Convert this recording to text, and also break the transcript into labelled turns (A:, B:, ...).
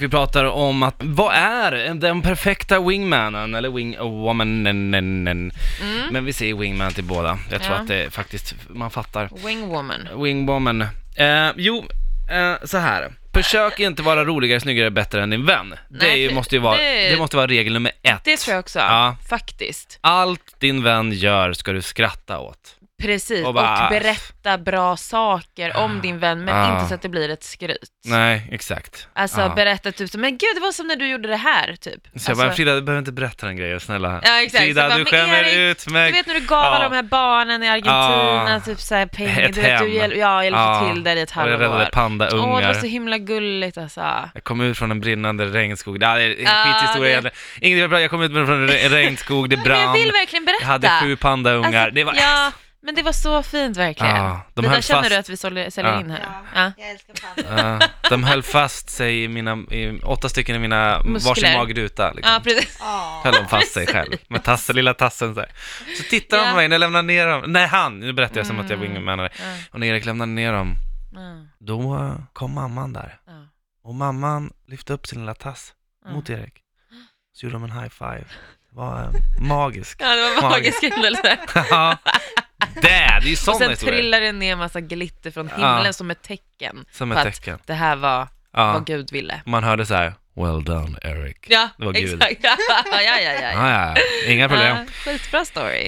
A: Vi pratar om att, vad är den perfekta wingmanen, eller oh, wingwomanen?
B: Mm.
A: Men vi säger wingman till båda. Jag tror
B: Ja.
A: att det faktiskt, man fattar.
B: Wingwoman.
A: Wingwoman. Eh, jo, eh, så här. Försök inte vara roligare, snyggare, bättre än din vän. det är
B: Nej,
A: ju,
B: för-
A: måste ju vara, det...
B: det-
A: måste vara regel nummer ett.
B: Det tror jag också,
A: Ja.
B: faktiskt.
A: Allt din vän gör ska du skratta åt.
B: Precis,
A: Och
B: och,
A: bara- äh.
B: berätta bra saker om din vän, men
A: Ah.
B: inte så att det blir ett skryt.
A: Nej, exakt.
B: Alltså
A: Ja.
B: berätta typ så, men gud det var som när du gjorde det här, typ.
A: Så jag
B: alltså,
A: bara, Frida du behöver inte berätta den grejen, snälla.
B: Ja, exakt. Så
A: Frida,
B: bara,
A: du
B: men
A: skämmer
B: Erik,
A: ut
B: du
A: mig.
B: vet när du gav
A: Ja.
B: alla de här barnen i Argentina,
A: Ah.
B: typ såhär pengar,
A: Ett
B: du vet,
A: hem.
B: du hjäl- ja, hjälpte
A: Ja.
B: till där i ett
A: Och jag räddade
B: halvår. Åh, det var
A: pandaungar.
B: så himla gulligt alltså.
A: Jag kom ut från en brinnande regnskog. Det här är en
B: Ja,
A: skithistoria
B: Ah, det-
A: egentligen. Inget var bra, jag kom ut från en re- regnskog, det
B: Men jag
A: brann.
B: vill verkligen berätta.
A: Jag hade sju pandaungar.
B: Alltså,
A: det var...
B: Ja, men det var så fint verkligen.
A: Ja, de
B: det där
A: höll
B: känner
A: fast-
B: du att vi säljer, säljer
A: Ja.
B: in här?
C: Ja,
B: Ja.
C: jag älskar pannor.
A: Ja, Ah, de höll fast sig i mina, i åtta stycken i mina varsin
B: Muskler.
A: magruta. Liksom.
B: Ja, precis.
C: Ja.
A: Höll de fast sig själv med tassen, lilla tassen så här. Så tittar de på
B: Ja. Mm.
A: mig när jag lämnar ner dem. Nej, han! Nu berättar jag som att jag wingmanade.
B: Ja.
A: Och när Erik lämnade ner dem,
B: Ja.
A: då eh, kom mamman där.
B: Ja.
A: Och mamman lyfte upp sin lilla tass
B: Ja.
A: mot Erik. Så gjorde de en high five. Det var eh, magiskt.
B: Ja, det var
A: Magiskt.
B: magisk händelse.
A: Ja, det, det är ju
B: Och
A: sådana
B: sen
A: historier.
B: trillade det ner massa glitter från
A: Ja.
B: himlen som ett tecken
A: Som
B: på
A: ett
B: att
A: tecken.
B: det här var
A: Ja.
B: vad Gud ville.
A: Man hörde så här, well done Eric.
B: Ja,
A: Det var Gud.
B: exakt. ja, ja, ja. ja.
A: Ah, ja, ja. inga problem.
B: Ja, skitbra story.